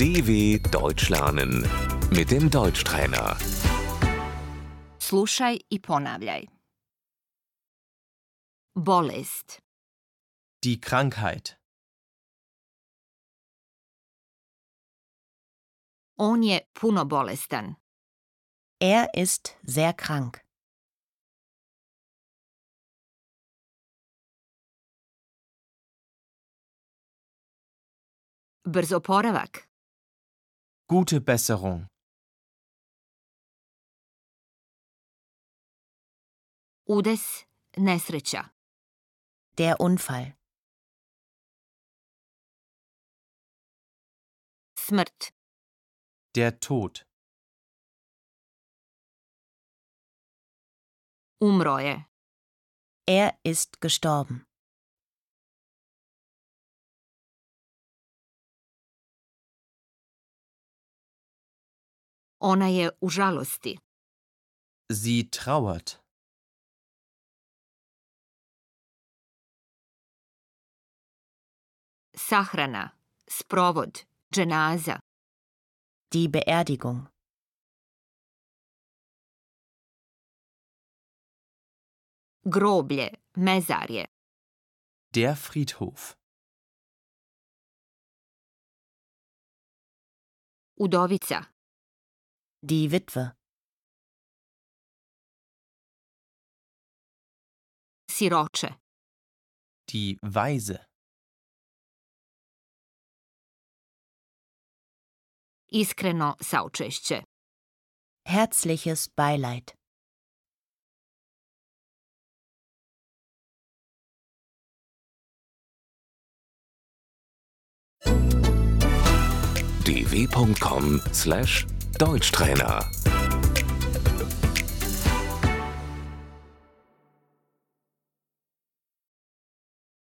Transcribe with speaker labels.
Speaker 1: DW Deutsch lernen mit dem Deutschtrainer.
Speaker 2: Slušaj i ponavljaj. Bolest,
Speaker 3: Die Krankheit.
Speaker 2: on je puno bolestan.
Speaker 4: Er ist sehr krank.
Speaker 2: Brz oporavak,
Speaker 3: Gute Besserung.
Speaker 2: udes, nesreća,
Speaker 4: Der Unfall.
Speaker 2: smrt,
Speaker 3: Der Tod.
Speaker 2: umro je,
Speaker 4: Er ist gestorben.
Speaker 2: ona je u žalosti,
Speaker 3: Sie trauert.
Speaker 2: sahrana, sprovod, dženaza,
Speaker 4: Die Beerdigung.
Speaker 2: groblje, mezarje,
Speaker 3: Der Friedhof.
Speaker 2: udovica,
Speaker 4: Die Witwe.
Speaker 2: siroče,
Speaker 3: Die Weise.
Speaker 2: iskreno saučešće,
Speaker 4: Herzliches Beileid.
Speaker 1: dw.com/deutschtrainer